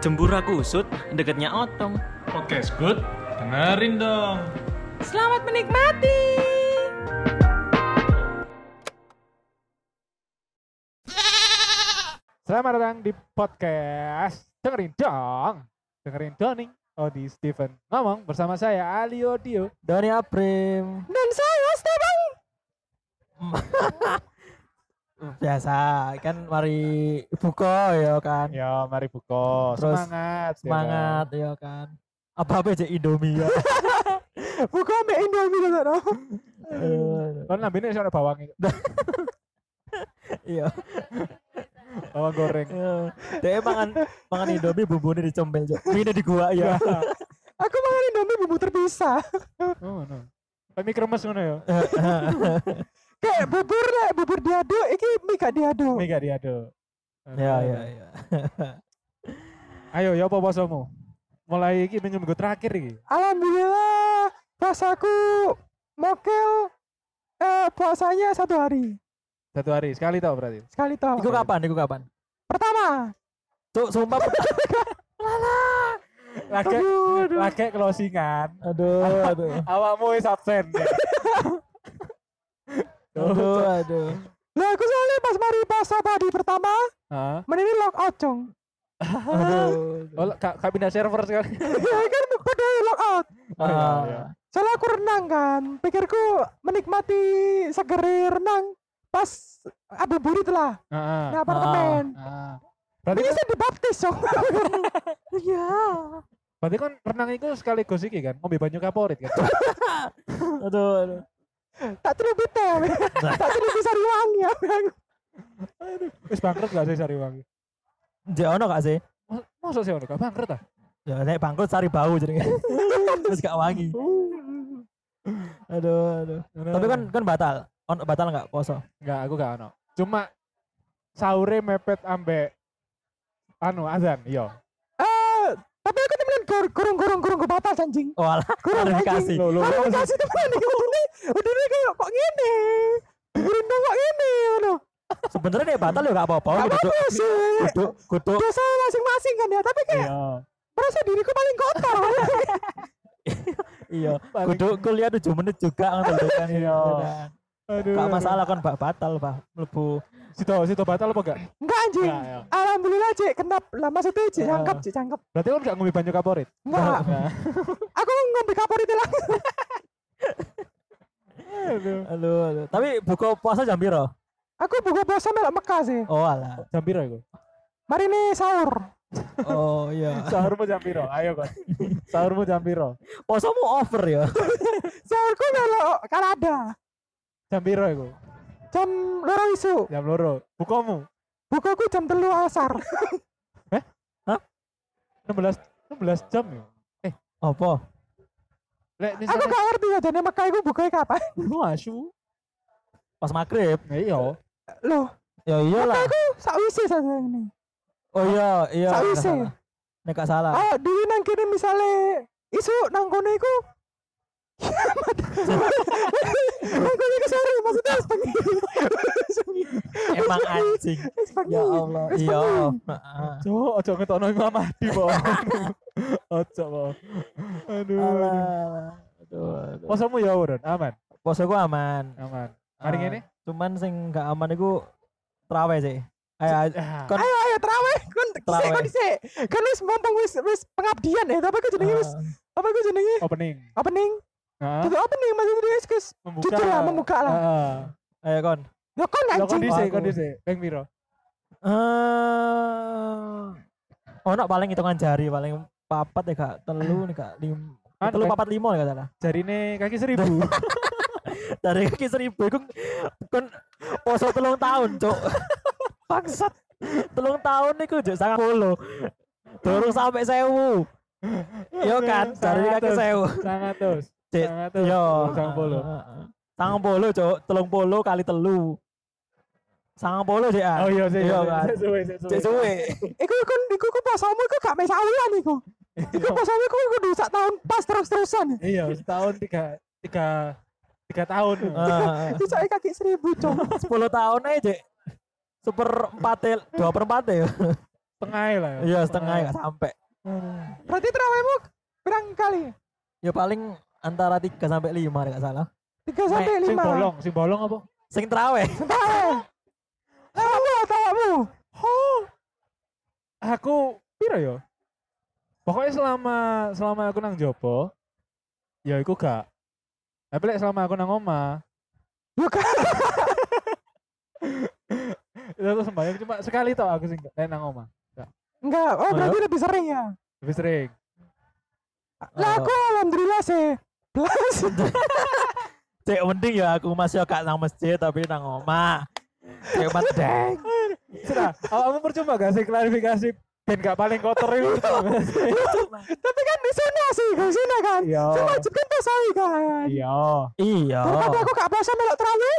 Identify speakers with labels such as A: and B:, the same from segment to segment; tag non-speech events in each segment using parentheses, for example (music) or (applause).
A: Jembura kusut, deketnya otong.
B: Podcast good, dengerin dong.
C: Selamat menikmati.
D: Selamat datang di podcast dengerin dong, dengerin Doning Odi Steven ngomong bersama saya Ali Odio.
E: Doni Aprim
C: Dan saya Stefan.
E: biasa kan mari buka ya kan
D: Ya mari buka
E: Terus,
D: semangat, ya
E: semangat ya kan apa apa aja Indomie ya (laughs)
C: Buka Mbak Indomie dulu no.
D: kan? Lo nambahnya soalnya bawang, itu,
E: iya
D: bawang (laughs) goreng.
E: dia mangan mangan Indomie bumbunya dicombel cok mie di gua ya (laughs)
C: Aku makan Indomie bumbu terpisah.
D: Oh, no. Tapi kremes ngono (laughs) ya.
C: Kayak bubur lah, bubur diaduk. Iki mie gak diaduk.
D: Mega diaduk.
E: ya ya ya
D: Ayo ya apa posomu? Mulai iki minggu-minggu terakhir iki.
C: Alhamdulillah, puasaku mokel eh, puasanya satu hari
D: Satu hari sekali tau berarti.
C: sekali toh.
E: Iku kapan? Iku kapan?
C: Pertama,
E: Cuk, sumpah.
D: Lagi
C: aduh, aduh.
D: lagi closingan.
E: aduh, aduh.
D: Awakmu wis (laughs) absen. ya.
E: (laughs) Aduh, aduh.
C: Lah aku soalnya pas mari puasa tadi pertama,
D: Hah?
C: mending lock out cong.
E: Ah. Aduh.
D: Oh, kak, kak pindah server sekali.
C: ya kan pada lock out.
D: iya,
E: Ah.
D: iya.
C: Soalnya aku renang kan, pikirku menikmati segeri renang pas ada burit lah
D: (laughs) Heeh.
C: di apartemen.
D: Ah.
C: Ini
D: Nah, Berarti kan,
C: saya dibaptis dong. Iya.
D: berarti kan renang itu sekaligus iki kan, ngombe banyu kaporit (laughs) kan.
E: Aduh, aduh.
C: Tak terlalu teh, tak terlalu bisa uang ya.
D: Wis bangkrut gak sih Sariwangi?
E: Jek ono gak sih?
D: Mas- Masa sih ono gak bangkrut ah?
E: Ya nek bangkrut sari bau jadi. Terus gak wangi. Aduh, aduh.
D: Nah,
E: Tapi kan kan batal. On batal nggak poso?
D: enggak, aku gak ono. Cuma sahure mepet ambek anu azan, iya.
C: Eh, tapi aku temenan gor- gorong-gorong-gorong ke batas anjing.
E: Oh, alah, klarifikasi.
D: Loh, loh,
C: Aku
D: kok-
C: kasih temenan nih, udah udah nih kayak kok gini. Berundang kok gini, ngono.
E: Sebenarnya nek batal ya gak apa-apa.
C: Gak
E: Kudu
C: apa-apa sih.
E: kudu kudu
C: Dosa masing-masing kan ya, tapi kayak
D: Iya.
C: merasa diriku paling kotor. (laughs)
E: iya. Kudu kuliah 7 menit juga ngono lho kan.
D: Iya.
E: Kan.
D: Aduh.
E: Gak masalah kan bak batal, Pak. Mlebu.
D: Sito, sito batal apa enggak?
C: Enggak anjing.
D: Enggak, ya.
C: Alhamdulillah cek kenap lah maksudnya cek
D: Ya.
C: cangkep cek cangkep
D: Berarti kan gak ngombe banyu kaporit.
C: enggak
D: Nah.
C: aku ngombe kapur itu lah (laughs)
D: Aduh.
E: Aduh, aduh. Tapi buka puasa jam piro?
C: aku buka puasa melok Mekah sih
E: Oh, alah.
D: Jam piro iku?
C: mari nih sahur
E: Oh, iya.
D: Sahurmu jam piro? Ayo kon. Sahurmu jam piro?
E: Posomu over ya.
C: sahurku melok Kanada
D: Jam piro iku?
C: jam loro isu
D: Jam loro. Bukamu
C: bukaku jam telu asar
D: 16 16 jam ya.
E: Apa?
D: Lek
C: aku
D: misalnya
C: gak ngerti ya jadi Mekah itu bukanya kapan
D: aku asu.
E: Pas maghrib.
D: Ya iya.
C: loh
E: Ya iyalah.
C: sakwisi saja ini
E: Oh iya, iya.
C: Sak
E: Nek gak
C: wis e.
E: salah. Nek gak salah.
C: ah di nang kene misalnya isu nang kono
E: (laughs)
C: iku nang kono iku sore maksudnya harus bengi
E: Emang anjing.
C: Harus bengi.
E: Ya Allah,
C: Harus
E: iya.
C: bengi.
E: Heeh.
D: Cok, ojo ngetokno Imam Mahdi, Po.
E: (laughs)
D: Ojo, Po. Aduh. aduh.
E: Alah, Aduh, aduh.
D: Posomu ya, Uron? Aman,
E: Posoku aman.
D: aman. Hari
E: Ah,
D: ini?
E: Cuman sing gak aman iku traweh sih. Ayo,
D: Ah,
E: kon
C: ayo ayo ya terawih kon
E: Terawih.
C: dhisik kon dhisik kan wis mumpung wis wis pengabdian ya tapi aku jenenge wis
E: ah,
C: apa aku jenenge
D: Opening.
C: opening
D: Heeh.
C: jadi opening maksudnya wis wis
D: Membuka.
C: jujur lah membuka lah
E: Ah.
D: Heeh.
E: ayo kon. kan
C: ya kon
D: Lah, kon
C: anjing
D: dhisik,
E: Aku.
D: kon dhisik. Ping piro?
E: Eh, ono paling hitungan jari paling papat ya gak telu nih gak lim
D: Anu,
E: telu
D: kan?
E: papat lima ya, nih kata
D: Jarine kaki seribu.
E: dari kaki seribu iku kon poso telung tahun
D: (laughs)
E: cok bangsat telung tahun iku jek sangat polo dorong sampai sewu yo kan dari kaki sewu
D: Sangat terus.
E: Cek,
D: Sangat terus.
E: yo Ah,
D: Sangat polo.
E: sangat polo cok telung polo kali telu sangat polo sih ah
D: Oh iya, sih.
E: Iya,
D: Iya,
E: kan?
D: Suwe, sih,
E: cek
D: suwe.
E: suwe
C: iku kon iku ku pasamu iku gak mes awilan
E: (laughs)
C: iku
E: Iya.
C: iku pasamu iku kudu sak tahun pas terus-terusan ya.
D: Iya, setahun tiga tiga tiga tahun.
E: Heeh.
C: iku saya kaki seribu cong
D: Iya.
E: 10 tahun aja Cek. super empat ya, dua per empat ya
D: setengah lah ya.
E: Iya setengah nggak sampai.
C: Berarti terawihmu berang kali?
E: Ya paling antara 3 sampai 5 nggak salah.
C: Tiga sampai
D: Sing
C: lima.
D: bolong, sing bolong apa?
E: Sing teraweh.
C: Tahu. Tahu tawamu. Ho.
D: Aku piro ya? Pokoknya selama selama aku nang jopo, ya aku gak. Tapi lek selama aku nang oma,
C: Yo kan.
D: (laughs) itu aku sembahyang cuma sekali tau aku sing lek nang oma.
C: Enggak. Oh, berarti lebih sering ya.
D: Lebih sering. Ah.
C: Lah aku alhamdulillah sih.
D: (laughs)
C: Belas.
E: Cek mending ya aku masih gak nang masjid tapi nang omah. Cek mending.
D: Sudah, awakmu percuma gak sih klarifikasi ben gak paling kotor (laughs) itu.
C: Tapi kan di sana sih, di sana kan.
D: Iya.
C: Cuma wajib kan pasai kan.
D: Iya.
E: Iya.
C: Daripada aku gak puasa melok terawih.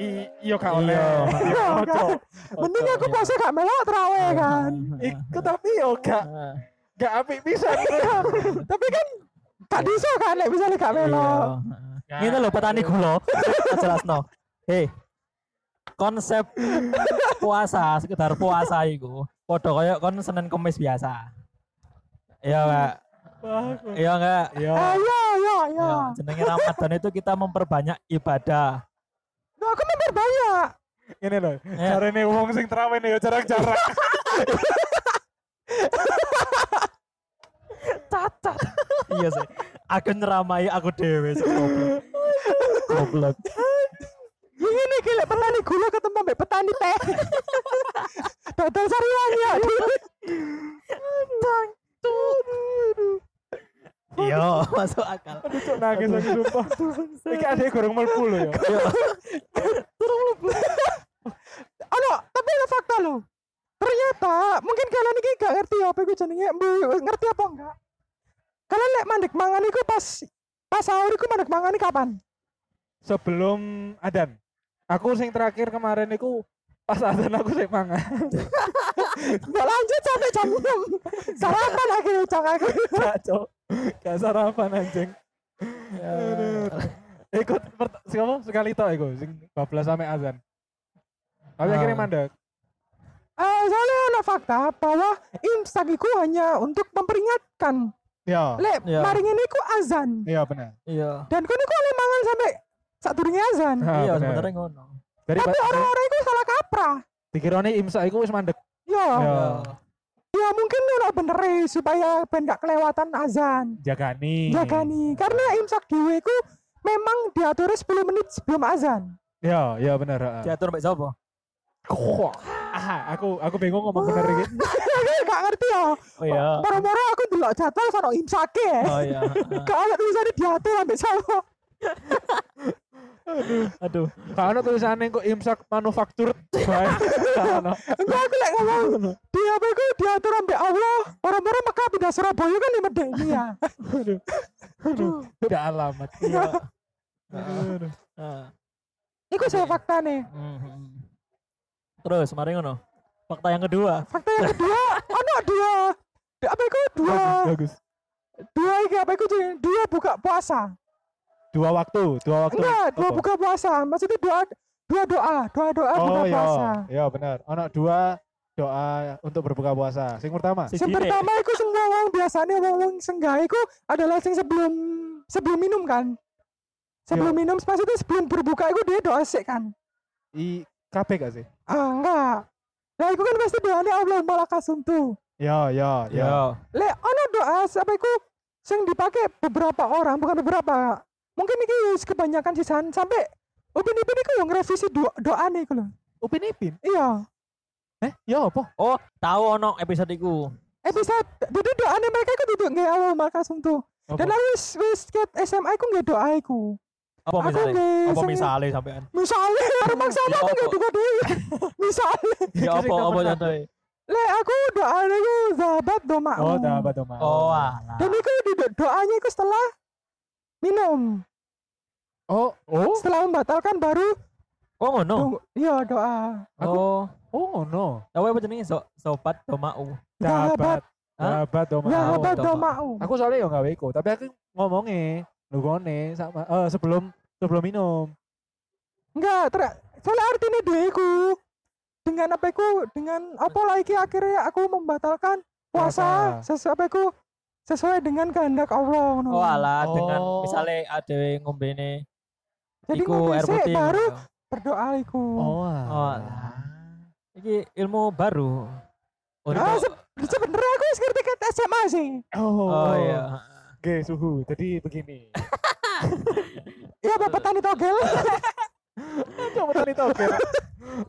D: I- Iya gak
E: Iya.
D: oleh. Iya,
C: Iya,
D: ojo.
C: Mending
E: Ojo,
C: aku
E: iya.
C: puasa gak melok terawih kan.
D: Iku tapi yo gak gak apik bisa.
C: Tapi kan gak bisa kan, lek misalnya gak melok.
E: Iya. Ini lho petani gula. Jelas no. Hei. Konsep puasa, sekedar puasa iku. Padha koyo kon Senin Kamis biasa. Iya, Pak. Iya enggak?
D: Iya.
C: Ayo, ayo, ayo.
E: Iya, jenenge Ramadan itu kita memperbanyak ibadah.
D: Iya.
C: Loh, aku memperbanyak.
D: Ini loh.
E: Iya.
D: Carane wong sing terawih nih yo jarak-jarak.
E: Cacat. iya sih. Aku nyeramai aku dewe sih, goblok. Goblok.
C: Yang ini gila petani gula ketemu ambek petani teh. Total sariwan ya.
E: Iya, masuk akal.
D: Cuk nangis aku
E: (laughs)
D: sumpah. Iki ada gorong melbu lho ya. yo.
E: Iya.
C: Ano, Anu, tapi ada fakta lo. Ternyata mungkin kalian ini gak ngerti apa iku jenenge, mbu- ngerti apa enggak? Kalian lek mandek mangan iku pas pas sahur iku mandek mangan iku kapan?
D: Sebelum adan. Aku sing terakhir kemarin iku pas adan aku sing mangan.
C: Mbok lanjut sampai jam 6. Sarapan akhirnya cang aku.
D: Gak, Cuk. Gak sarapan anjing.
E: Ya.
D: Ikut pert- siapa sekali tok iku sing bablas sampe azan. Tapi
E: Ah.
D: akhirnya mandek.
C: Eh, soalnya ada fakta bahwa imsak iku hanya untuk memperingatkan.
D: Iya.
C: Lek
E: Ya.
C: maring ini iku azan.
D: Iya benar.
E: Iya.
C: Dan kau niku oleh mangan sampai saat azan.
D: Ha,
E: Iya,
D: Ah, bener.
E: sebenarnya ngono.
D: Dari
C: Tapi
E: ya.
C: orang-orang itu salah kaprah.
D: dikirone imsak iku wis mandek.
C: Yo,
E: Oh. Ya.
D: Iya.
C: ya mungkin ono bener eh, supaya ben gak kelewatan azan.
E: Hmm.
D: Jagani.
C: Jaga nih, karena imsak dhewe iku memang diatur 10 menit sebelum azan. (laughs)
D: Iya, iya benar. heeh.
E: Diatur mbak sapa?
D: Kok. Ah, aku aku bingung ngomong bener iki.
C: Aku gak ngerti ya.
E: Oh iya.
C: Moro-moro aku delok jadwal sono imsake.
E: Oh
C: (laughs)
E: iya.
C: Gak ada tulisannya diatur ambek sapa.
E: Aduh.
D: Kalau ada tulisannya kok imsak
E: (laughs)
D: manufaktur. Baik. Kalau
C: Enggak aku lek ngomong dia apa iku diatur ambek Allah. Moro-moro Mekah pindah Surabaya kan di Medeni
E: (laughs)
C: ya.
D: tidak alamat.
E: Iya.
D: Aduh.
E: Ah.
C: Iku saya
E: Iya.
C: fakta nih.
E: Mhm. Terus, mari ngono. Fakta yang kedua.
C: Fakta yang
D: (laughs)
C: kedua, ono dua. Apa iku dua?
D: Bagus.
C: Dua iki apa iku jenenge? Dua buka puasa.
D: Dua waktu, dua waktu.
C: Enggak, dua
D: Apa?
C: buka puasa. Maksudnya dua dua doa, dua doa buka
D: Oh iya,
C: puasa.
D: iya benar. Ono dua doa untuk berbuka puasa. Sing pertama,
E: Si
C: Yang
E: Dine.
C: pertama iku semua wong biasanya wong wong senggae iku adalah sing sebelum sebelum minum kan. Sebelum
D: Iya.
C: minum maksudnya sebelum berbuka iku dia doa sik kan.
D: i kabeh gak sih?
C: Ah, enggak. Nah, iku kan pasti doanya Allahumma laka suntu.
D: Ya, ya,
E: Iya.
D: ya.
C: Le ono doa apa iku sing dipakai beberapa orang, bukan beberapa. Mungkin iki wis kebanyakan sisan sampai Upin-upin iku yang ngerevisi doa, doa nih lho.
D: Upin Ipin.
C: Iya.
D: Eh, ya apa?
E: Oh, tahu ono episode iku.
C: Episode jadi doane mereka iku duduk nggih Allahumma laka suntu. Dan
D: Apa?
C: aku wis wis ket SMA iku nggih doa iku.
E: Apa
C: Aku
E: misalnya?
C: nggih
E: Apa
C: sing-
E: misalnya sampean?
C: misalnya orang maksa
E: Ya
C: aku nggak
E: apa?
C: duga (laughs) dewi misalnya
E: Ya apa apa contohnya?
C: le aku doanya aku sahabat doma
D: Oh, dah apa doma.
E: Oh, alah.
C: dan itu di do- doanya itu setelah minum
D: Oh, oh,
C: setelah membatalkan baru
E: Oh, ngono.
C: dong- iya doa
D: Aku-
E: Oh,
D: oh ngono.
E: tahu apa jenenge so, sobat domau.
D: Dapat,
C: Sahabat.
E: Hah?
D: dapat doma.
E: Dapat.
C: sahabat
E: doma.
C: doma
D: Aku soalnya yo gak weko, tapi aku ngomongnya lugone sama eh sebelum sebelum minum.
C: enggak ter soalnya artinya dewiku dengan apa iku dengan apa lagi akhirnya aku membatalkan puasa
D: Puasa.
C: sesuai apa iku sesuai dengan kehendak Allah ngono.
E: Oh alah dengan
D: Oh.
E: misalnya ada yang ngombe ini
C: Jadi
E: iku
C: ngombe
E: air
C: sik,
E: putih.
C: baru berdoa iku.
D: Oh,
E: Oh,
D: alah.
E: Iki ilmu baru. Untuk
C: Ah, se- sebenarnya aku wis ngerti kata SMA sih.
D: oh,
E: Oh iya.
D: Oke, suhu. Jadi begini.
C: Ya bapak tani
E: (laughs)
C: togel. Iya,
D: Coba tadi tahu kan?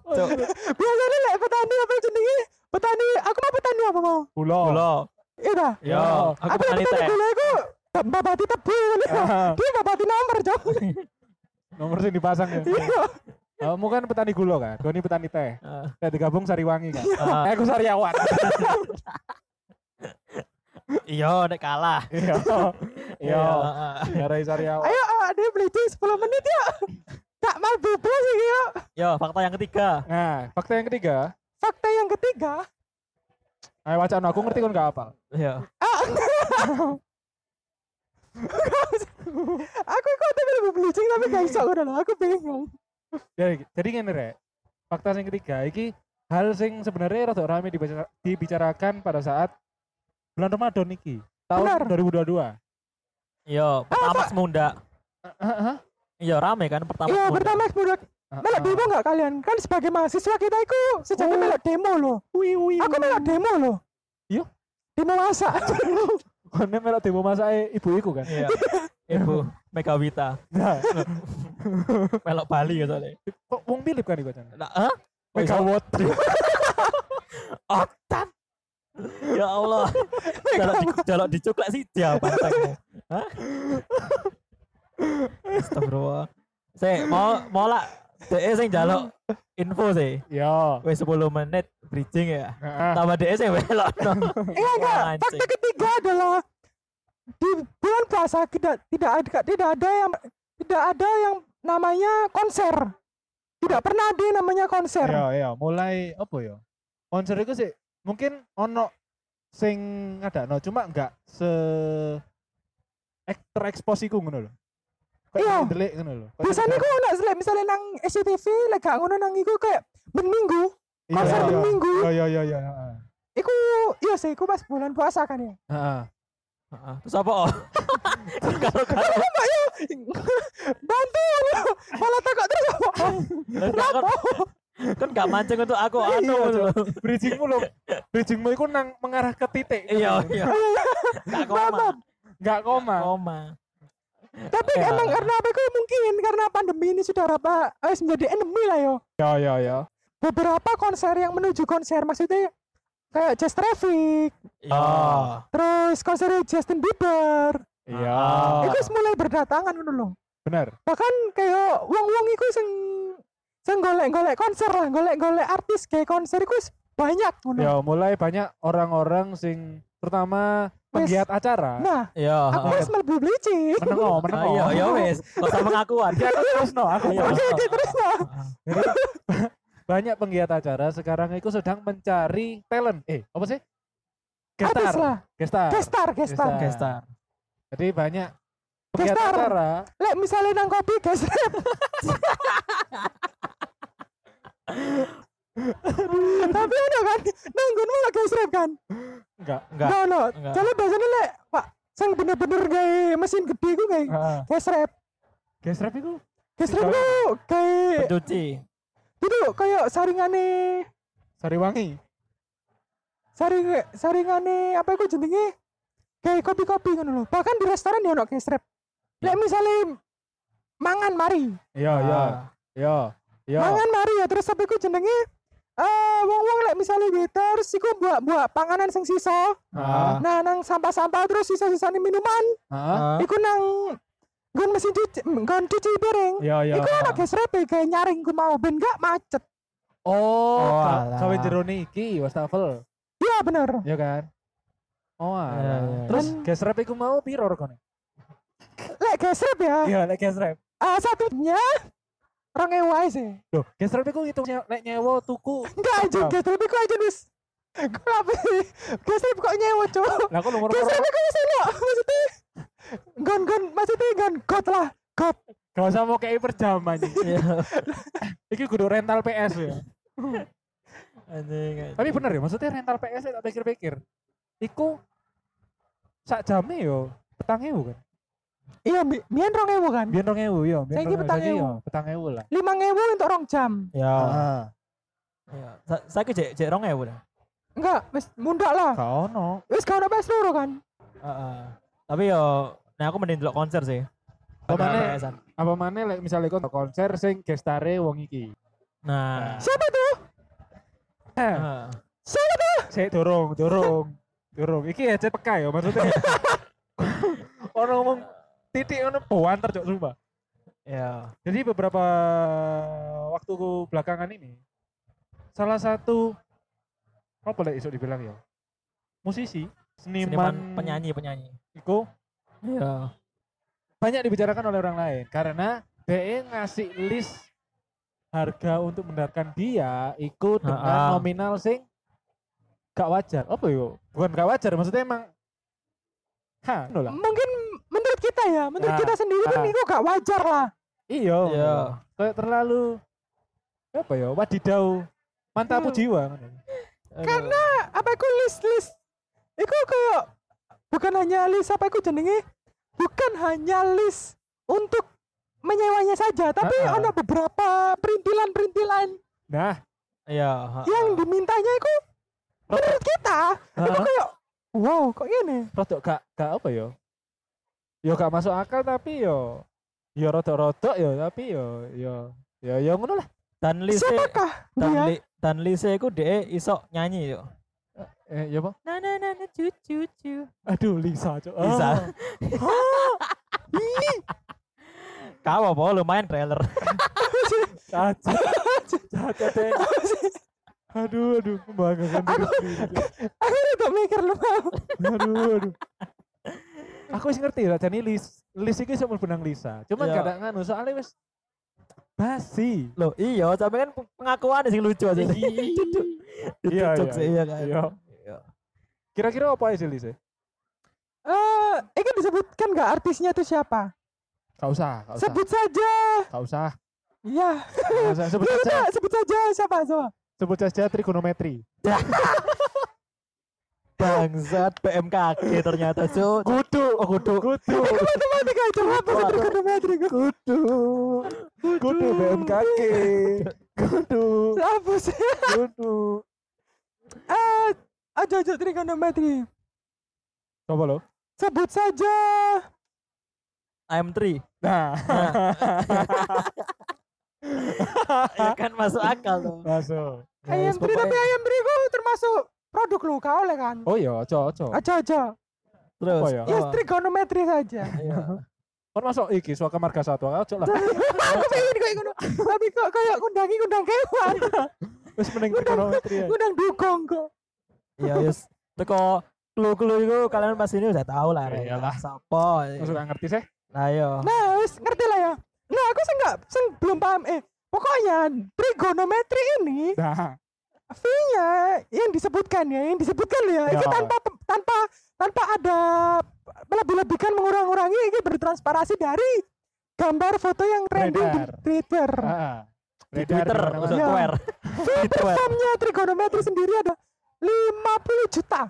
E: Cuk,
C: Biasanya lek petani apa jenenge? Petani, aku mau petani apa mau?
D: Pulau.
E: Kulo.
C: Iya dah.
E: Yo, aku
C: Aku lek
E: petani (laughs) teh.
C: petani
E: Ah.
C: gula iku babati tebu. Ki babati nomor,
E: (laughs)
C: Cok.
E: Iya.
D: Nomor sih dipasang ya.
C: Iya.
D: Kamu kan petani gula kan? Doni petani teh.
E: Ah,
D: Saya digabung Sariwangi kan?
E: ah.
D: Eh, aku (laughs) Sariawan.
E: Iya, nek kalah.
D: Iya. Iya.
E: ah, ah.
D: Ngarai Sariawan.
C: Ayo awak dhewe beli 10 menit yuk. Gak mau bubul sih yuk.
E: Yo, fakta yang ketiga.
D: Nah, fakta yang ketiga.
C: Fakta yang ketiga,
D: Ayo wacana aku ngerti kan gak apa.
E: Yo.
C: Ah. aku kok tapi lebih belijing tapi gak iso udah lah, aku bingung.
D: Jadi, jadi ngene rek. Fakta yang ketiga iki hal sing sebenarnya rada rame dibaca- dibicarakan pada saat bulan Ramadan iki tahun
C: Benar.
D: 2022.
E: Yo, pertama semunda.
D: Heeh.
E: Iya, rame kan pertama
C: Iya,
E: semunda.
C: pertama budak. Melok bingung gak kalian? Kan sebagai mahasiswa kita itu
D: Ah.
C: sejatinya
D: Oh.
C: melok demo loh.
D: Wih wih.
C: Aku melok demo loh.
D: Iya?
C: Demo masak.
D: Kone melok demo masake ibu iku kan.
E: Iya. Ibu Megawita.
D: Nah,
E: Melok Bali ya soalnya.
D: kok wong Philip kan iku kan.
E: Nah, hah? Oh, iso.
D: Megawatt.
E: Otan. Ya Allah. Jalok di, jalok dicuklek sih dia bantengmu. Hah? Astagfirullah. Saya mau mau lah DE sing jalok info sih.
D: Yo.
E: Wis 10 menit bridging ya.
D: Heeh.
E: Tambah DE sing welok.
C: Iya enggak.
E: Wah, anjing.
C: Fakta ketiga adalah di bulan puasa tidak tidak ada tidak ada yang tidak ada yang namanya konser. Tidak pernah ada yang namanya konser.
D: Yo yo Iya, mulai apa yo? Konser iku sih mungkin ono sing ngadakno cuma enggak se ek- terekspos iku ngono lho. Kayak
C: Iya.
D: ngedelik ngono lho. Kayak
C: Biasanya kok anak selek misalnya nang SCTV lek gak ngono nang iku kayak minggu.
D: Iya,
C: konser
D: iya.
C: minggu.
D: Iya iya iya iya. heeh.
C: Iku iya sih, iku pas bulan puasa kan
E: (laughs)
C: ya.
D: Heeh.
E: Heeh. Terus apa? oh? (laughs) Kalau kalau
C: iya. Bantu lu. Malah takut
E: (laughs)
C: terus apa?
E: kan kan gak mancing untuk aku anu
D: Iya,
E: loh.
D: Bridgingmu lho. Bridgingmu iku nang mengarah ke titik.
E: Iya, iya. Gak koma.
C: Mantap.
D: Enggak koma.
E: Koma.
C: Tapi
E: Iya.
C: emang karena apa iku mungkin karena pandemi ini sudah apa eh, menjadi endemi lah yo.
D: Yo yo yo.
C: Beberapa konser yang menuju konser maksudnya kayak Jazz Traffic,
E: Iya.
D: Ah.
C: terus konser Justin Bieber.
D: Iya.
E: Ah.
C: Iku wis mulai berdatangan ngono lho.
D: Bener.
C: Bahkan kayak wong-wong iku sing sing golek-golek konser lah, golek-golek artis kayak konser iku wis banyak ngono.
D: Ya mulai banyak orang-orang sing terutama
C: Wes.
D: penggiat acara.
C: Nah,
E: Iya.
C: aku
E: heeh.
C: wis mlebu blicing.
E: Ah,
D: Menengo, menengo.
E: Iya, iya wis. Gak usah pengakuan.
D: Ya, aku terus no, aku
E: Iya.
C: Oke, oke, (laughs) terus nah.
D: banyak penggiat acara sekarang itu sedang mencari talent. Eh, apa sih?
C: Artis
D: Gestar,
C: lah.
D: gestar.
C: Gestar, gestar.
D: Gestar.
E: Gestar.
D: Jadi banyak penggiat
C: Gestar.
D: acara.
C: Lek misalnya nang kopi guys. (laughs) Tapi ono kan nang gunung lagi guys kan.
D: Enggak.
E: Enggak.
C: No no.
E: enggak.
C: Kalau biasanya lek Pak sing bener-bener kayak mesin gede ku kayak
D: Heeh.
C: guys rap.
D: Gestar itu
C: Guys rap ku kayak
E: Pencuci.
C: itu kayak saringane
D: Sariwangi.
C: saring saringane apa iku jenenge? Kayak kopi-kopi ngono lho. Bahkan di restoran ya ono guys rap. Lek misalnya mangan mari.
D: Iya,
E: Ah.
D: iya. Iya. Iya.
C: mangan mari ya terus sampai ku jenenge eh wong wong lek misalnya waiter terus iku buat buat panganan sing sisa
D: Ah.
C: nah nang sampah sampah terus sisa sisa minuman
D: Heeh.
E: Ah.
C: iku nang gun mesin cuci gun cuci piring
D: Iya, iya.
C: iku anak guys repe kayak e, nyaring ku mau ben gak macet
D: Oh,
E: Oh,
D: ka-
E: alah.
D: kawin jerone iki wastafel,
C: ya bener
D: ya kan? Oh,
E: Iya,
D: alah.
E: iya.
D: Terus gas rap iku mau piro regane?
C: lek guys rep ya
D: Iya, nek gas rap.
C: eh, satunya orang ewa sih
D: Loh, gas rap iku ngitung nye- nek nyewa tuku.
C: enggak aja
D: Apa?
C: guys rep iku aja wis Gue apa sih? Guys rep kok nyewa cowok
D: Lah kok nomor
C: Guys rep iku wis enak maksudnya gun gun maksudnya gun got lah got
D: Gak usah mau kayak per jam anjing.
E: Iya.
D: Iki kudu rental PS ya.
E: Anjing.
D: Tapi bener ya, maksudnya rental PS tak pikir-pikir. Iku sak jame yo petang ewu kan.
C: Iya, bi- biyen 2000 kan.
D: Biyen 2000 yo, biyen
C: Saiki
D: 2000.
C: petang
D: Saiki iya.
C: ewu.
D: yo, Petang ewu lah.
C: 5000 untuk rong jam.
E: Ya.
D: Heeh.
E: ya. Sa- Saiki jek jek 2000 dah.
C: Enggak, wis mundak lah.
D: Gak ono.
C: Wis gak ono PS loro kan.
E: Heeh. Ah, Tapi yo nah aku mending delok konser sih. Nah.
D: Apa
E: Daripada
D: maneh?
E: PS-an.
D: Apa maneh lek misale kon konser sing gestare wong iki.
E: Nah.
C: Siapa tuh?
D: Ah.
E: heeh.
C: Siapa tuh?
D: Saya dorong, dorong, dorong. Iki headset peka ya (laughs) maksudnya. Orang ngomong titik ono bawaan terjok sumpah.
E: Ya.
D: Jadi beberapa waktu belakangan ini salah satu apa boleh iso dibilang ya? Musisi, seniman,
E: Seniman penyanyi-penyanyi.
D: iku
E: Iya.
D: banyak dibicarakan oleh orang lain karena DE ngasih list harga untuk mendengarkan dia ikut
E: Ha-ha.
D: dengan nominal sing gak wajar apa yo bukan gak wajar maksudnya emang ha ngono lah
C: Mungkin menurut kita ya, menurut
D: Nah,
C: kita sendiri kan
D: ah.
C: itu gak wajar lah.
D: iyo
E: Iya.
D: kayak terlalu apa ya wadidau mantap
C: Hmm.
D: jiwa ngono. ya.
C: Karena apa iku list-list iku kayak bukan hanya list apa iku jenenge? Bukan hanya list untuk menyewanya saja, tapi
D: Ah, ah.
C: ono beberapa perintilan-perintilan
D: nah
E: Iya. heeh.
C: yang dimintanya iku menurut kita itu
D: Heeh.
C: kayak wow kok gini
D: rodok gak gak apa yo yo gak masuk akal tapi yo yo rodok-rodok yo tapi ya, yo yo yo yo ya ngono lah
E: Dan lise
C: siapakah Iya.
E: dan,
C: dia
D: Iya.
E: li- dan lise iku dhek iso nyanyi yo.
D: eh ya apa
E: Na na na na cu cu cu.
D: aduh Lisa cok Ah.
E: Bisa. Kau apa lumayan trailer.
D: cacat cacat deh aduh aduh membanggakan diri sendiri Cok.
C: aku udah mikir lu mau
D: aduh aduh aku sih ngerti lah jadi Lis Lis itu sama benang Lisa cuman
E: Iya.
D: kadang nganu soalnya wes basi
E: Loh, iya, sampe kan pengakuan sing lucu aja. Duduk.
D: Iya,
E: Duduk
D: iya,
E: sih, iya kan.
D: iya.
E: Iya.
D: kira-kira apa sih Lis
C: eh ini disebutkan nggak artisnya itu siapa
D: gak usah gak usah
C: sebut saja
D: gak usah
C: iya
D: Gak usah. sebut
C: Udah,
D: saja
C: udah, sebut saja siapa siapa
D: sebut saja trigonometri
E: Bangsat BMKG ternyata, Cuk.
D: kudu
E: Oh, kudu.
D: kudu
C: matematika coba apa sih trigonometri
D: kudu kudu BMKG kudu
C: apa sih
D: kudu
C: eh aja aja trigonometri
D: coba lo
C: sebut saja
E: AM3.
D: nah
E: (laughs) Ya kan masuk akal tuh.
D: masuk
E: Ya,
C: ayam
E: wis,
C: tri tapi
E: pokoknya-
C: ayam tri ku termasuk produk lu kau oleh kan
D: oh iya ojo ojo
C: aja aja
E: Terus.
D: apa
E: Oh.
D: ya?
C: ya trigonometri saja
E: Iya.
D: kan masuk iki suaka marga satwa ojo lah
C: aku pengen kayak ngono tapi kok kayak kundangi kundang kewan
D: wis mending trigonometri ya
C: kundang dukung kok
E: Iya, yes. Teko clue-clue itu kalian pasti ini udah tahu lah.
D: Ya,
E: Ren.
D: iyalah.
E: Sopo.
D: masuk gak ngerti sih
E: Nah, yo.
C: nah wis ngerti lah ya nah aku sih nggak sih belum paham eh pokoknya trigonometri ini
D: nah
C: V-nya yang disebutkan ya yang disebutkan loh ya, itu
D: Ya.
C: tanpa pe- tanpa tanpa ada melebih-lebihkan mengurang-urangi ini bertransparasi dari gambar foto yang trending
D: Beredar.
C: di Twitter.
D: ah.
E: Di
D: Beredar
E: Twitter,
D: dimana-mana.
E: maksud
C: Iya.
E: Twitter. Twitter.
C: Formnya trigonometri sendiri ada 50 juta,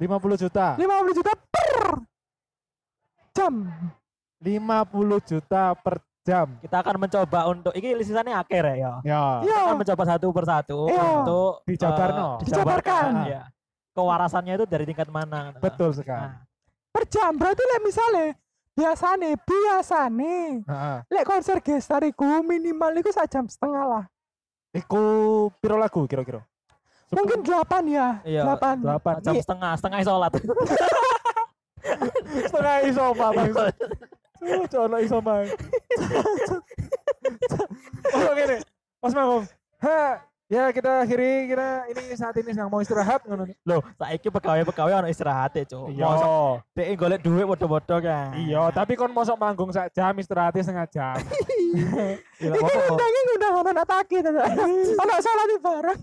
D: 50 juta
C: 50 juta per jam.
D: 50 juta per jam
E: Kita akan mencoba untuk ini lisannya akhir ya. yo.
D: ya
C: Iya.
E: Kita akan mencoba satu persatu
C: Iya.
E: untuk
D: Dijabarno.
E: eh,
C: Dijabarkan.
E: ya. Kewarasannya itu dari tingkat mana?
D: betul sekali
E: Nah,
C: per jam berarti lek misale biasane biasane
D: Heeh.
C: lek konser gestar iku minimal iku sak jam setengah lah
D: iku piro lagu kira-kira
C: mungkin 8 ya
E: Iya,
C: 8
D: 8
E: jam setengah, setengah
D: (laughs)
E: sholat.
D: setengah isoma
E: (laughs)
D: bang Cuk, ono isoma oh gini pas ngomong ha ya kita akhiri kita ini saat ini sedang mau istirahat ngono
E: Loh, saiki pegawai-pegawai ono istirahat ya, Cuk. Mosok
D: iya
E: dhek golek duit bodoh-bodoh kan.
D: iya tapi kon mosok manggung sak jam istirahatnya setengah jam
E: Gila,
C: Iki
E: apa-apa.
C: ngundangi ngundang anak taki tata. Anak salah di bareng.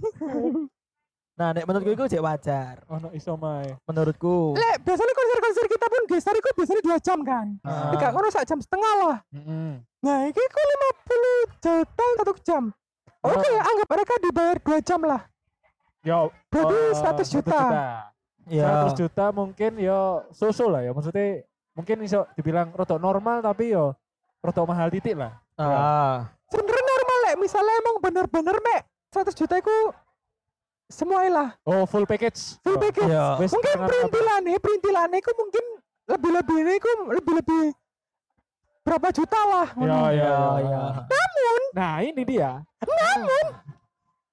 E: Nah, nek menurutku itu cek wajar.
D: ono isoma
E: Menurutku.
C: Lek biasanya konser-konser kita pun gestar itu biasanya dua jam kan.
E: Ah.
C: Enggak ngono sak jam setengah lah. Nah, iki ku
D: Ah.
C: 50 juta satu jam. Oke, anggap mereka dibayar dua jam lah.
D: Yo,
C: Berarti
D: eh,
C: 100 juta. Ya.
E: iya.
D: 100 juta mungkin yo susu lah ya maksudnya mungkin iso dibilang rotok normal tapi yo rotok mahal titik lah
E: Ah.
C: Sebenernya normal lek misalnya emang bener-bener mek 100 juta itu semua lah
D: oh full package
C: full
D: Oh,
C: package.
E: Iya.
D: wis
C: Mungkin
D: tangan apa-
C: perintilannya, perintilannya ku mungkin lebih-lebih ini ku lebih-lebih berapa juta lah.
D: yo yo
E: Ya,
C: Iya,
D: yo.
E: ya.
D: nah ini dia namun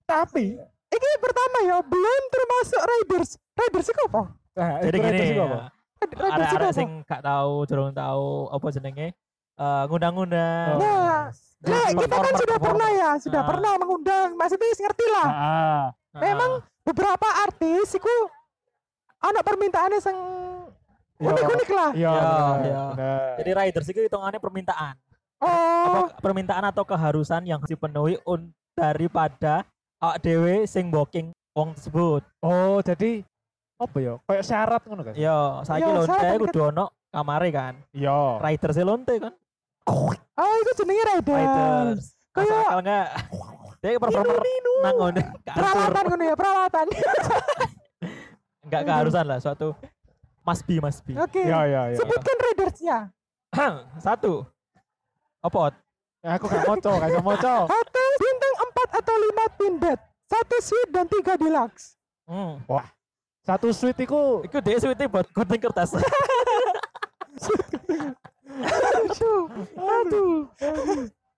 D: tapi
C: Ini pertama ya, belum termasuk riders. Riders itu apa?
D: nah,
E: Jadi
D: itu
E: gini.
D: ratus juga apa?
C: Riders itu
E: Ada-ada
C: apa?
E: sing gak tahu, durung tahu apa jenenge. Eh ngundang-ngundang.
D: Oh.
C: Nah, Lek, kita kan sudah pernah ya, sudah
E: Ah.
C: pernah mengundang. Maksudnya wis ngerti lah.
D: Ah, ah.
E: Nah.
C: Memang beberapa artis iku anak permintaannya sing
D: Yo,
C: unik-unik lah.
D: yo,
E: Ya,
D: iya, benar,
E: ya.
D: benar.
E: Jadi riders itu hitungannya permintaan.
C: Oh,
E: Apa permintaan atau keharusan yang harus dipenuhi un daripada awak dewe sing booking wong tersebut.
D: oh jadi apa ya kayak syarat ngono kan
E: Yo, saiki
C: Yo,
E: lonte
C: syarat
E: kudu ono kamare kan.
D: yo
E: Riders e lonte kan.
C: oh itu jenenge rider.
E: Riders.
C: Kayak-
E: Masuk akal enggak? Dia performer
C: Ninu-ninu.
E: nang ngono. gak atur.
C: Peralatan ngono ya, peralatan. (laughs)
E: Enggak keharusan lah suatu must be must be.
C: Oke.
D: yo yo yo
C: Sebutkan ridersnya.
E: Satu. Apa? Ot?
D: Ya, aku gak moco gak iso
C: (laughs)
D: moco
C: Hotel bintang 4 atau 5 twin bed. Satu suite dan tiga deluxe.
E: Hmm.
D: satu suite iku
E: Iku dia suite buat gunting kertas.
C: Aduh. Aduh.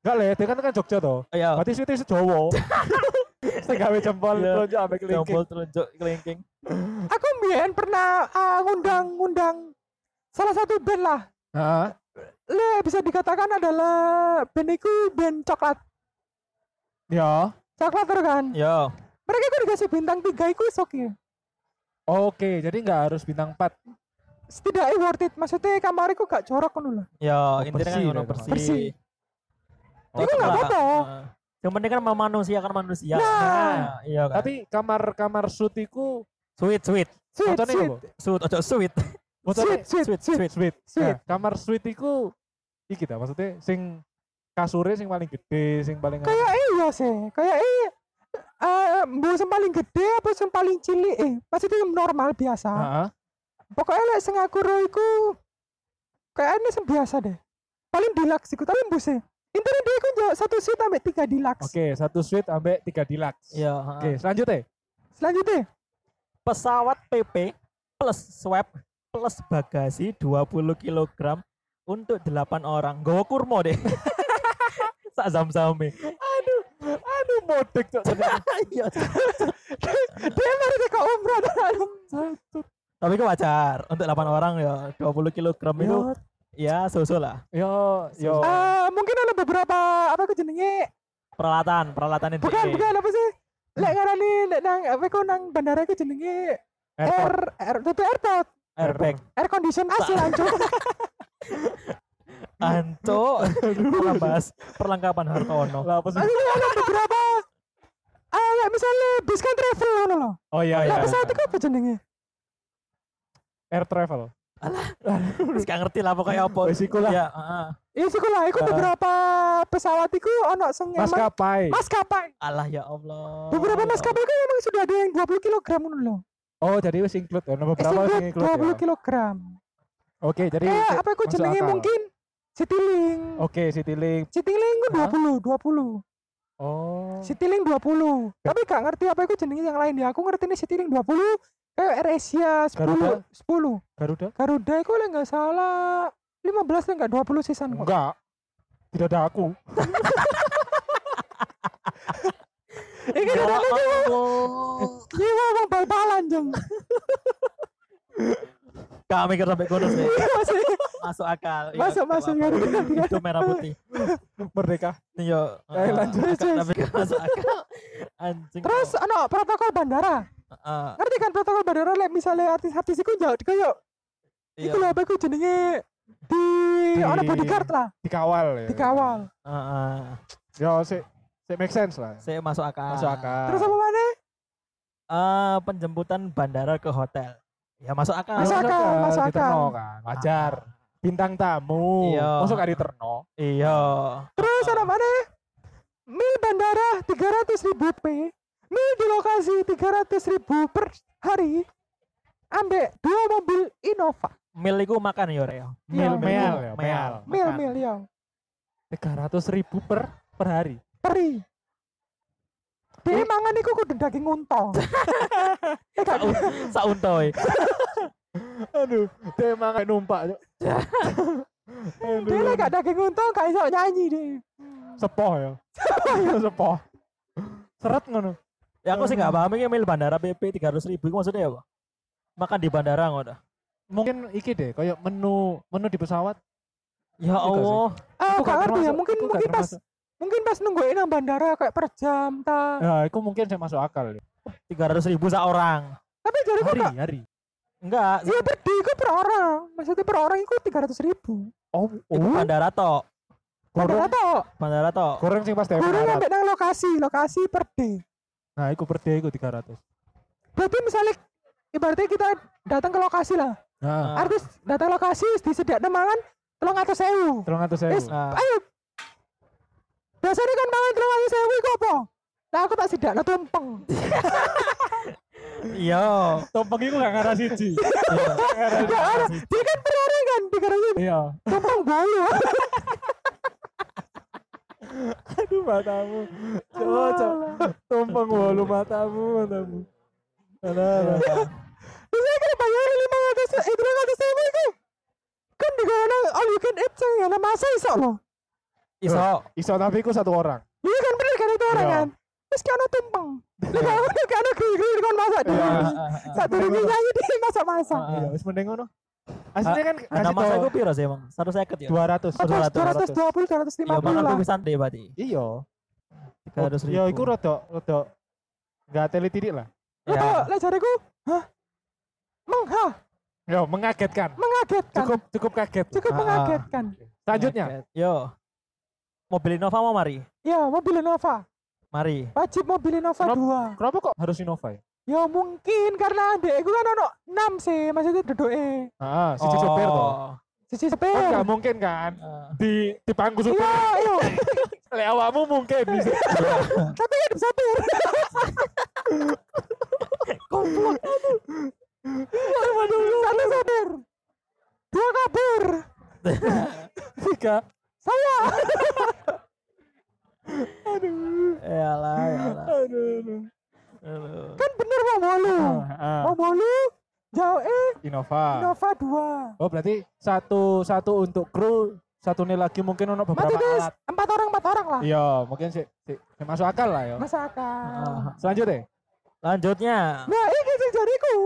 D: Enggak lah ya, dia kan kan Jogja toh.
E: Ayo.
D: Berarti suite
E: (laughs)
D: sejowo. Saya gawe jempol
E: Iya.
D: lonjok ambek kelingking.
E: Jempol telunjuk kelingking.
C: Aku mbien pernah ah, ngundang-ngundang salah satu band lah.
D: Heeh.
C: Le bisa dikatakan adalah band iku band coklat.
E: Iya.
D: Ya.
C: Coklat terus kan.
E: Yo.
C: Mereka iku dikasih bintang 3 iku sok ya.
D: Oke, jadi nggak harus bintang 4.
C: Setidaknya worth it. Maksudnya kamar iku gak jorok ngono lah.
E: Ya, intinya kan
D: bersih
E: ngono
D: deh,
E: bersih.
C: Bersih.
E: Oh,
C: Itu nggak
E: coba.
C: apa-apa.
E: Heeh. Yang penting kan sama manusia kan manusia.
C: Nah.
E: iya kan.
D: Tapi kamar-kamar suite iku
E: sweet sweet.
C: Suite,
D: Motornya
C: suite,
D: apa?
E: Sweet ojo sweet.
D: Motornya
C: suite, suite,
E: Sweet sweet.
C: suite.
D: suite. suite.
C: Suite.
D: Nah, kamar suite iku iki ta maksudnya sing kasurnya sing paling gede, sing paling
C: Kayak iya sih. Kayak iya. Eh, mbok sing paling gede apa sing paling cilik eh maksudnya normal biasa.
D: Heeh.
C: pokoknya lek sing aku ro iku kayaknya sing biasa deh paling deluxe iku tapi mbuse intinya dia iku njawab satu suit sampai tiga deluxe
D: Oke, satu suite ambek tiga deluxe.
E: Iya,
D: Oke,
E: heeh.
D: selanjutnya.
C: selanjutnya
E: Pesawat PP plus swab plus bagasi 20 kg untuk 8 orang. Gowo kurma deh. Sak zam-zame.
D: Aduh, modek cok.
E: Iya.
C: dia baru ke kan umroh
E: Tapi itu wajar untuk 8 orang ya 20 kg itu ya susu lah.
D: Yo, yo.
C: Eh, mungkin ada beberapa apa ke jenenge
E: Peralatan, peralatannya
C: bukan
E: dhewe.
C: bukan apa sih lek ngarani lek nang apa iku nang bandara iku jenenge air
D: Airport.
C: air tapi airport
E: airbag.
C: air condition
D: (laughs)
C: AC lanjut
E: Anco malah bahas perlengkapan Hartono.
D: Lah, apa sih?
C: maksudnya ada beberapa eh lek misalnya bis kan travel ngono loh
D: Oh iya, iya.
C: lek pesawat iku apa jenenge
D: Air travel.
E: Terus gak ngerti lah pokoknya apa.
D: Wes iku lah.
E: Ya, heeh.
C: Iya sih lah, iku
E: Ah.
C: beberapa pesawat iku ono
E: Iya,
C: sing emang
D: Eh. Maskapai.
C: maskapai.
E: Alah ya Allah.
C: Beberapa
E: Ya
C: maskapai iku emang sudah ada yang 20 kg ngono lho. Eh,
D: Oh, jadi wis include ya. Nomor berapa wis
C: Singkat
D: include ya?
C: 20 kg.
D: Oke, jadi
C: Eh,
D: si-
C: apa iku
D: masuk
C: jenenge
D: akal.
C: mungkin Citilink.
D: Oke, Citylink.
C: Citilink ku
D: Hah?
C: 20, 20.
D: Oh.
C: Citilink 20 Tapi gak ngerti apa iku jenenge yang lain ya. Aku ngerti ini Citilink 20 kayak Air Asia 10, 10.
D: Garuda?
C: Garuda iku lek enggak salah 15 lek enggak 20 sisan kok.
D: Enggak. Tidak ada aku.
C: Iki ada
E: Ya Allah.
C: iki wong bal-balan jeng.
E: Gak mikir sampai kono sih.
C: Masih
E: Masuk akal. Ya,
C: Masuk,
E: gak
C: masuk,
E: apa-apa.
C: ngerti, ngerti.
E: Itu merah putih.
D: Merdeka.
E: Iya.
D: Eh, lanjut,
C: Jess.
E: Tapi masuk akal. Anjing.
C: Terus ono protokol bandara.
E: Heeh,
C: ngerti kan protokol bandara lek misalnya artis-artis iku jauh dikoyo
E: iya.
C: iku lho apa iku jenenge di
D: Di-
C: ono bodyguard lah
D: Dikawal ya.
C: dikawal
E: Heeh.
D: Ya, si si make sense lah.
E: Saya masuk akal.
D: Masuk akal.
C: terus apa mana
E: Eh, penjemputan bandara ke hotel. Ya masuk akal.
C: Masuk akal, masuk akal.
D: Diterno kan. Wajar. Bintang tamu.
E: Iya.
D: Masuk gak diterno.
E: Iya.
C: terus ono mana mil bandara 300.000 ribu p mie di lokasi 300 ribu per hari ambek dua mobil Innova Iya,
E: Mil iku makan ya Rek. (laughs)
C: Mil,
D: meal, ya, meal.
E: meal.
C: mil
E: Makan.
C: mil yang
D: 300 ribu per per hari.
C: peri dia mangan iku kudu daging
D: (laughs)
C: unta eh gak
E: Saun- Sauntoy.
D: Aduh, dia emang kayak numpak. Cuk. Aduh.
C: dia lek gak daging unta gak iso nyanyi dia
D: sepoh ya. sepoh. Seret ngono.
E: Ya aku sih nggak paham ini mil bandara PP 300 ribu itu maksudnya apa? Makan di bandara ngono.
D: Mungkin iki deh, kayak menu menu di pesawat.
E: Ya
D: Iya gak sih?
E: Allah.
C: ah
D: Iku
C: gak ngerti ya
D: termasuk-
C: mungkin
D: iku gak
C: mungkin pas
D: termasuk.
C: mungkin pas nungguin nang bandara kayak per jam ta
D: Ya, itu mungkin saya masuk akal. ya.
E: 300 ribu seorang.
C: tapi jadi kok
D: Hari,
C: gak
D: hari.
E: Enggak,
C: iya per di iku per orang maksudnya per orang iku 300 ribu
D: Oh,
E: itu kan
D: oh.
E: bandara tok.
C: Padahal
D: Goreng,
C: tau
E: Bandara tok.
D: goreng sing pas dia
C: Guru
D: mendarat.
C: sampai nang lokasi, lokasi per day.
D: Nah, itu per day itu 300.
C: Berarti misalnya ibaratnya kita datang ke lokasi lah.
D: Nah,
E: Ah.
C: Artis datang lokasi disediakno mangan
D: 300
C: 300.000. Wis,
D: sewu.
E: Ah.
C: ayo. Biasanya kan mangan 300.000 iku apa? Lah aku tak sedakno
D: (laughs)
C: tumpeng.
E: Iya.
D: Tompeng itu gak ngarah siji.
C: Ya ada, dia kan per orang kan 300.000
D: Iya.
C: tumpeng (laughs) bolu.
D: Aduh matamu. Cocok. Tumpeng walu matamu, matamu. Nah, Alah, alah.
C: Bisa kira bayar 500 eh 300.000 iku. Kan di kono all you can eat sing ana masa iso loh.
E: Iso.
D: Iso tapi ku satu orang.
C: Iya kan bener kan itu orang
D: Iya.
C: kan. Terus kan tumpeng. Lah kamu tuh kan gini kan masak dulu. Satu lagi nyanyi dia masak-masak.
D: Iya, wis mending ngono. Aslinya kan
E: Ada masa
D: kasih tau
E: itu Nah, piro sih emang? 150 ya.
D: 200.
C: Apa
E: 200,
C: 220 250
E: Ya makan
C: lah.
E: tuh pisan deh berarti.
D: Iya.
E: 300 ribu.
D: Ya iku rada rada enggak teli titik lah.
C: Lah
E: Ya.
C: tau
D: Iya.
C: lah jariku. Hah? Meng ha,
D: Yo, mengagetkan.
C: mengagetkan.
D: Cukup cukup kaget. Nah,
C: Kan. Cukup
E: Ah, ah.
C: mengagetkan.
D: Selanjutnya.
E: Yo. Mobil Innova mau mari.
C: Ya, mobil Innova.
E: Mari.
C: Wajib mobil Innova
D: Kenapa?
C: 2.
D: Kenapa kok harus Innova ya?
C: Ya mungkin karena adek iku kan ono 6 sih, maksudnya duduke.
D: Heeh, siji sopir toh.
C: Sisi
D: Kan
C: sepeda.
D: nggak mungkin kan
E: Oh. Ah.
D: di di pangku supir.
C: Iya, iya.
D: Lek awakmu mungkin bisa.
C: Tapi kan sopir. Goblok. Satu sopir. Dua kabur.
D: tiga.
C: Saya.
E: Yalah, yalah.
D: Aduh.
E: Aduh.
C: Kan bener mau bolu.
D: Ah,
C: Mau bolu. Jauh eh
D: Innova.
C: Nova 2.
D: Oh berarti satu satu untuk kru, satu nih lagi mungkin ono
C: Mati
D: beberapa
C: guys.
D: alat.
C: Empat orang empat orang lah.
D: Iya, mungkin sih sih- sih masuk akal lah ya.
C: Masa akal.
E: Ah.
D: Selanjutnya,
E: Lanjutnya.
C: Nah ini sih jariku.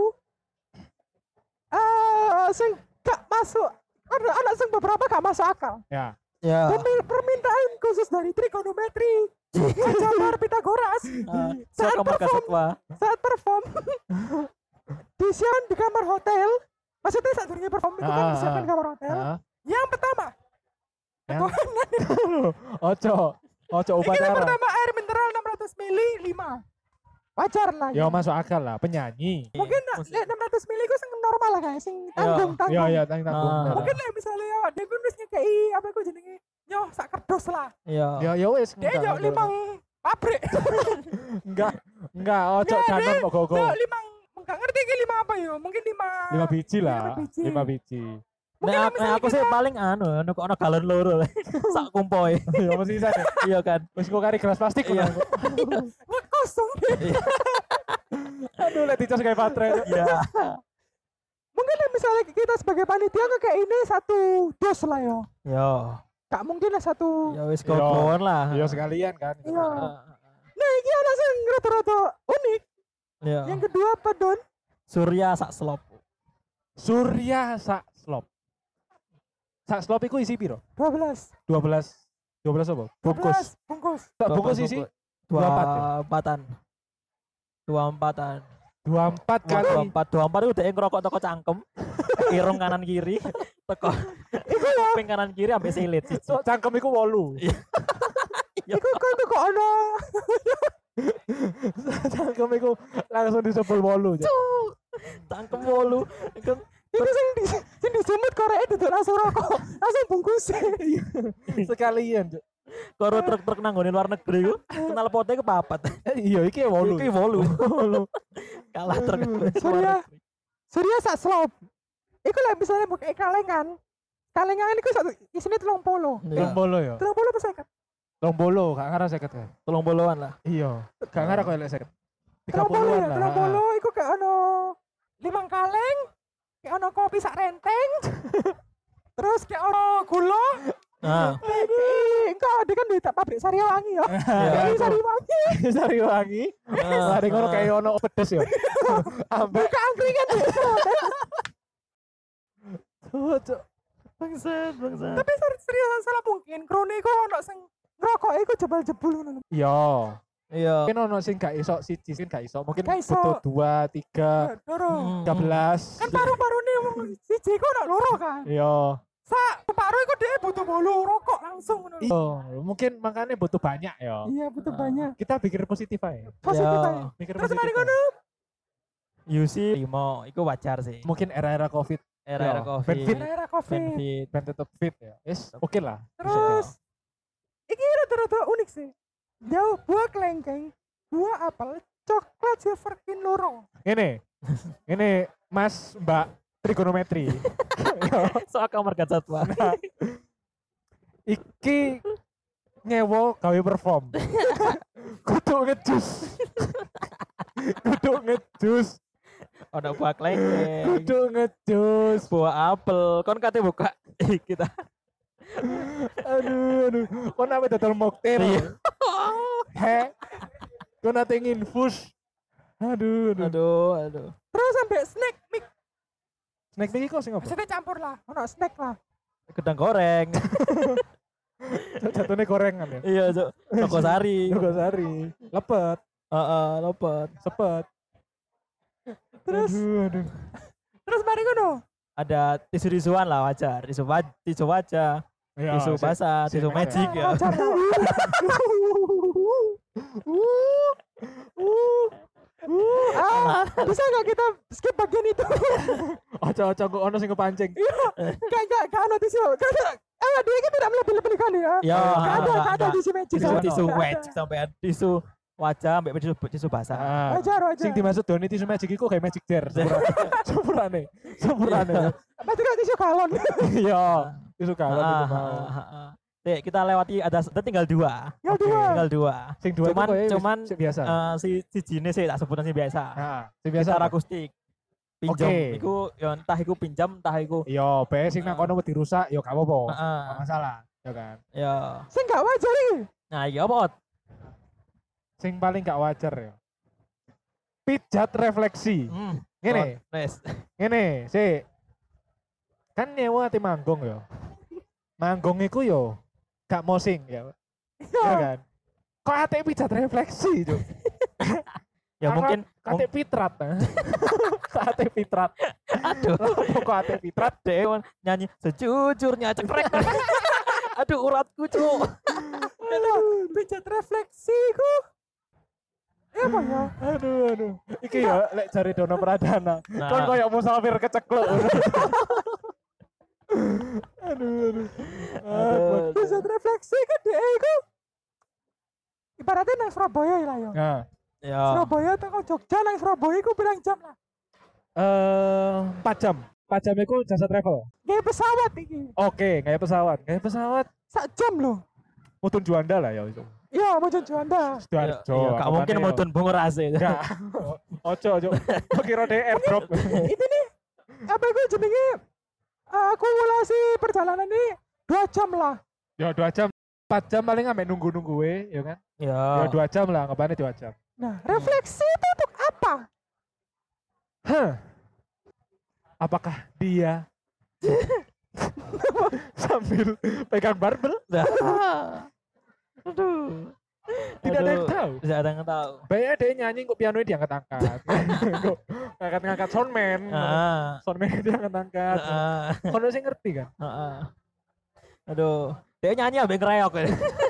C: Eh, sing gak masuk. Ada anak sing beberapa gak masuk akal.
D: ya.
E: Ya.
C: Dan permintaan khusus dari trigonometri.
D: (laughs)
C: Ajabar Pitagoras.
E: Ah,
C: Saat
E: Saya kamar
C: perform.
E: kasatwa.
C: saat
D: (laughs)
C: perform di Sion di kamar hotel maksudnya saat dirinya perform itu kan
D: Ah,
C: disiapkan
D: ah,
C: kamar hotel
D: Hah?
C: yang pertama
D: Yang-
C: kebohongan
D: Ojo,
E: Oh,
D: ojo
C: ini yang
D: upacara.
C: pertama air mineral 600 mili 5 wajar lah
D: Ya masuk akal lah, penyanyi.
C: mungkin nak-
E: Musik.
C: lek 600 mili itu sing normal lah guys sing tanggung tanggung
D: Ya ya tang tanggung.
E: Ah.
D: Mungkin
C: mungkin lah misalnya ya dia pun wis ngekei apa aku jenenge nyoh sak kerdos lah
E: Ya.
D: ya ya wis
C: dia
D: enggak,
C: nyoh
D: enggak,
C: limang
D: (laughs)
C: pabrik
D: enggak enggak ojo
C: Enggak,
D: kanan kok gogo.
C: nyoh limang enggak ngerti iki lima apa yo mungkin lima
D: Lima biji lah,
C: lima biji.
D: lima biji.
E: Nah,
C: Mungkin lah
E: aku,
C: misalnya
E: aku sih paling anu, anu kok ono galon loro lah. Sak kumpoi. (laughs)
D: Ya mesti bisa. deh.
E: Iya kan.
D: Wis kok kari gelas plastik
E: Iya.
D: kan.
C: Wah, kosong (laughs)
D: Aduh lek dicas kayak baterai.
E: Iya.
C: mungkin lah misalnya kita sebagai panitia kok kayak ini satu dos lah yo
E: Yo.
C: gak mungkin lah satu
E: Iya. Ya wis
D: Yo.
E: gogoan lah.
D: Ya sekalian kan.
C: Iya.
E: Ah,
C: nah ini anak sing rata-rata unik
E: Yo.
D: Ah.
C: yang kedua apa don
E: Iya. Surya sak selop.
D: Surya sak slop. Sak slop iku isi piro?
C: 12
D: 12 12 apa? Bungkus.
C: 12, bungkus
D: Tak bungkus isi
E: dua
D: empat ya?
E: empatan. Dua empatan.
D: 24
E: Wah, Dua
D: kali.
E: empat, dua empat itu udah ngerokok toko cangkem, irung kanan kiri, (laughs) toko kuping kanan kiri sampai silit. siji.
D: So, cangkem iku 8.
C: itu kok itu kan kok ono
D: (laughs) cangkem iku langsung disebul 8.
E: Cangkem wolu, kan
C: itu sing di sing disumut korek itu langsung rokok langsung bungkus
D: sekalian Cuk.
E: Karo truk-truk nanggone luar negeri ku, kenal potnya ku papat.
D: Eh, iya iki ya wolu.
E: Iki wolu. Hmm, Kalah truk.
C: Aduh,
E: Luar
C: Surya, Surya sak slop. Iku lek misalnya buka kalengan. Kalengan ini satu isine 30. 30
E: negeri. Iya.
D: Tolong bolo ya.
C: persen kan.
D: Tolong bolo gak ngarah 50 kae.
E: Tolong boloan lah.
D: Iya. Gak ngarah koyo lek 50.
C: 30
D: 30-an
C: ya,
D: lah.
C: 30 iku gak ono limang kaleng, gak ono kopi sak renteng. Terus gak ono gula.
E: Nah,
C: Ih, Enggak, dia kan di pabrik Sariawangi ya.
E: Iya,
C: Ini Sariawangi
D: (laughs) Sari wangi. Lah ning ngono kayak ono pedes ya. Ambek
C: buka angkringan.
D: cocok.
E: bangsat, bangsat.
C: Tapi ser- serius salah mungkin krone iku ono sing ngerokok iku jebol-jebol ngono.
D: Iya.
E: Iya.
D: Mungkin ono sing gak iso siji, sing gak iso. Mungkin
C: Gak iso.
D: butuh 2, 3, Hmm.
C: Loro.
D: 13.
C: Kan paru-parune wong siji iku ono loro kan.
D: Iya.
C: Sak paru iku dia butuh bolu rokok langsung ngono. lho.
D: Iya, mungkin makanya butuh banyak ya.
C: Iya, butuh banyak.
D: Kita pikir positif aja.
C: Positif
E: Iya.
C: aja.
D: Pikir
C: Terus
D: positif
C: mari
D: aja.
C: ngono.
E: Yusi, Timo, itu wajar sih.
D: Mungkin era-era Covid
E: Era-era
D: Iya.
E: Covid.
D: Benfit.
C: Era Covid.
E: Benfit.
D: ben tetap fit ya. Yes, oke lah.
C: Terus iki rada-rada unik sih. Jauh buah kelengkeng, buah apel, coklat silverkin loro.
D: Ini, ini Mas Mbak
C: (laughs)
D: trigonometri. Yo,
E: (laughs) Soal kamar gajah tua.
D: Iki nyewo gawe
C: (laughs)
D: perform. Kudu ngejus. Kudu ngejus.
E: Ada buah klengkeng.
D: Kudu ngejus.
E: Buah apel. Kon katanya buka. (laughs) Kita.
D: Aduh, aduh. Kon apa dodol mocktail?
E: Iya.
D: He. Kon nate nginfus. Aduh, aduh.
E: Aduh, aduh.
C: Terus sampai snack mix,
D: Snack iki kok sing apa?
C: maksudnya campur lah, ono snack lah.
E: Gedang (laughs) goreng.
D: Jatuhnya gorengan ya.
E: iya, Cuk. Toko (laughs) sari.
D: Juga sari. Lepet,
E: Heeh, lopet.
D: sepet.
C: Terus
D: Aduh, aduh.
C: terus mari ngono.
E: Ada tisu-tisuan lah wajar. Tisu waj tisu wajah,
D: Ya,
E: tisu
D: sip.
E: basah,
D: sip,
E: tisu
D: sip.
E: magic ya.
C: Nah, Wajar lah.
D: Uh, uh.
C: Ah, bisa nggak kita skip bagian (laughs) itu? Iya,
D: Ojo-ojo kok ono sing kepancing.
C: Gak gak gak ada tisu. Gak ada. Eh dia ini tidak melebih-lebih kali ya.
E: Ya,
C: Gak ada
E: enggak,
C: gak ada
E: enggak.
C: tisu magic.
E: tisu
C: gak ada.
E: tisu
C: Gak ada.
E: magic sampai tisu wajah sampai tisu tisu basah. (laughs)
D: Ah.
C: Wajar wajar.
D: Sing dimaksud Doni tisu magic iku kayak magic Iya. jar. (laughs) Sepurane. Sepurane.
C: Pasti kan tisu galon.
D: Iya, tisu kalon itu
E: Ah,
D: mau.
E: ah, ah, ah. Dek, kita lewati ada ada tinggal dua.
C: Ya
D: Oke.
C: dua.
E: Tinggal dua.
D: Sing dua
E: Cuman-
D: itu kayak wis-
E: cuman,
D: sing biasa.
E: Eh, si si jenis sih tak sebutan sih biasa.
D: Heeh, sing Ah. biasa.
E: Gitar akustik. Pinjam.
D: Oke. Iya.
E: Iku ya entah iku pinjam entah iku.
D: Yo, bae sing nang
E: Heeh.
D: kono wedi rusak yo gak apa-apa.
E: Heeh.
D: Gak masalah, ya kan.
E: Ya.
C: (laughs) Sing gak wajar ini.
E: Nah, iya apa? Ot?
D: Sing paling gak wajar yo. Pijat refleksi.
E: Hmm.
D: Ngene,
E: Ot, Wes.
D: ngene, sik. Kan nyewa ati manggung yo. Manggung iku yo gak mosing ya.
E: Iya.
D: Ya kan. Kok ate pijat refleksi, Cuk?
E: Ya
D: Karena
E: mungkin
D: Kate pitrat.
E: (laughs)
D: nah. Kate pitrat.
E: aduh.
D: Kok ate pitrat?
E: Dek kan nyanyi sejujurnya cekrek. (laughs) aduh uratku, Cuk.
C: Aduh, Pijat refleksiku. Ya apa
E: Iya.
C: ya?
D: Aduh, aduh. Iki ya lek jari Dono
E: Nah.
D: Pradana. Kon koyo musafir
E: (laughs)
D: kecekluk. aduh, aduh. Aduh.
E: Aduh.
C: Pijat refleksi kan dia iku. Ibaratnya nang Surabaya lah ya.
D: Nah,
E: Ya.
C: Surabaya tengok Jogja nang Surabaya iku bilang jam lah.
D: eh 4 jam. 4 jam iku jasa travel.
C: Gaya pesawat iki.
D: Oke, kayak pesawat. Kayak pesawat
C: Sak jam loh.
D: mutun Juanda lah ya itu.
C: Iya, mau jujur
E: Ya,
C: Anda.
D: Sidoarjo.
E: iya, gak mungkin
D: angkatane yo.
E: mudun bungur ase. (laughs)
D: Gak. ya. Ojo, ojo. Kok Kira deh airdrop.
C: Ini nih apa itu jenenge eh, akumulasi perjalanan ini dua jam lah.
D: Ya 2 jam. 4 jam paling ambek nunggu-nunggu we, ya kan? Ya
E: Ya.
D: 2 jam lah, ngapainnya 2 jam.
C: Nah, refleksi itu untuk apa?
D: Hah. Apakah dia (laughs) sambil pegang barbel?
E: Aduh.
D: Tidak ada yang
E: Aduh,
D: tahu.
E: Tidak ada yang tahu.
D: Bayar dia nyanyi kok
E: (laughs)
D: piano diangkat-angkat. Kok ngangkat-ngangkat soundman.
E: Heeh.
D: Soundman diangkat-angkat.
E: Heeh.
D: Kono sih ngerti kan?
E: Heeh. Aduh. Dia nyanyi ambil ngereok.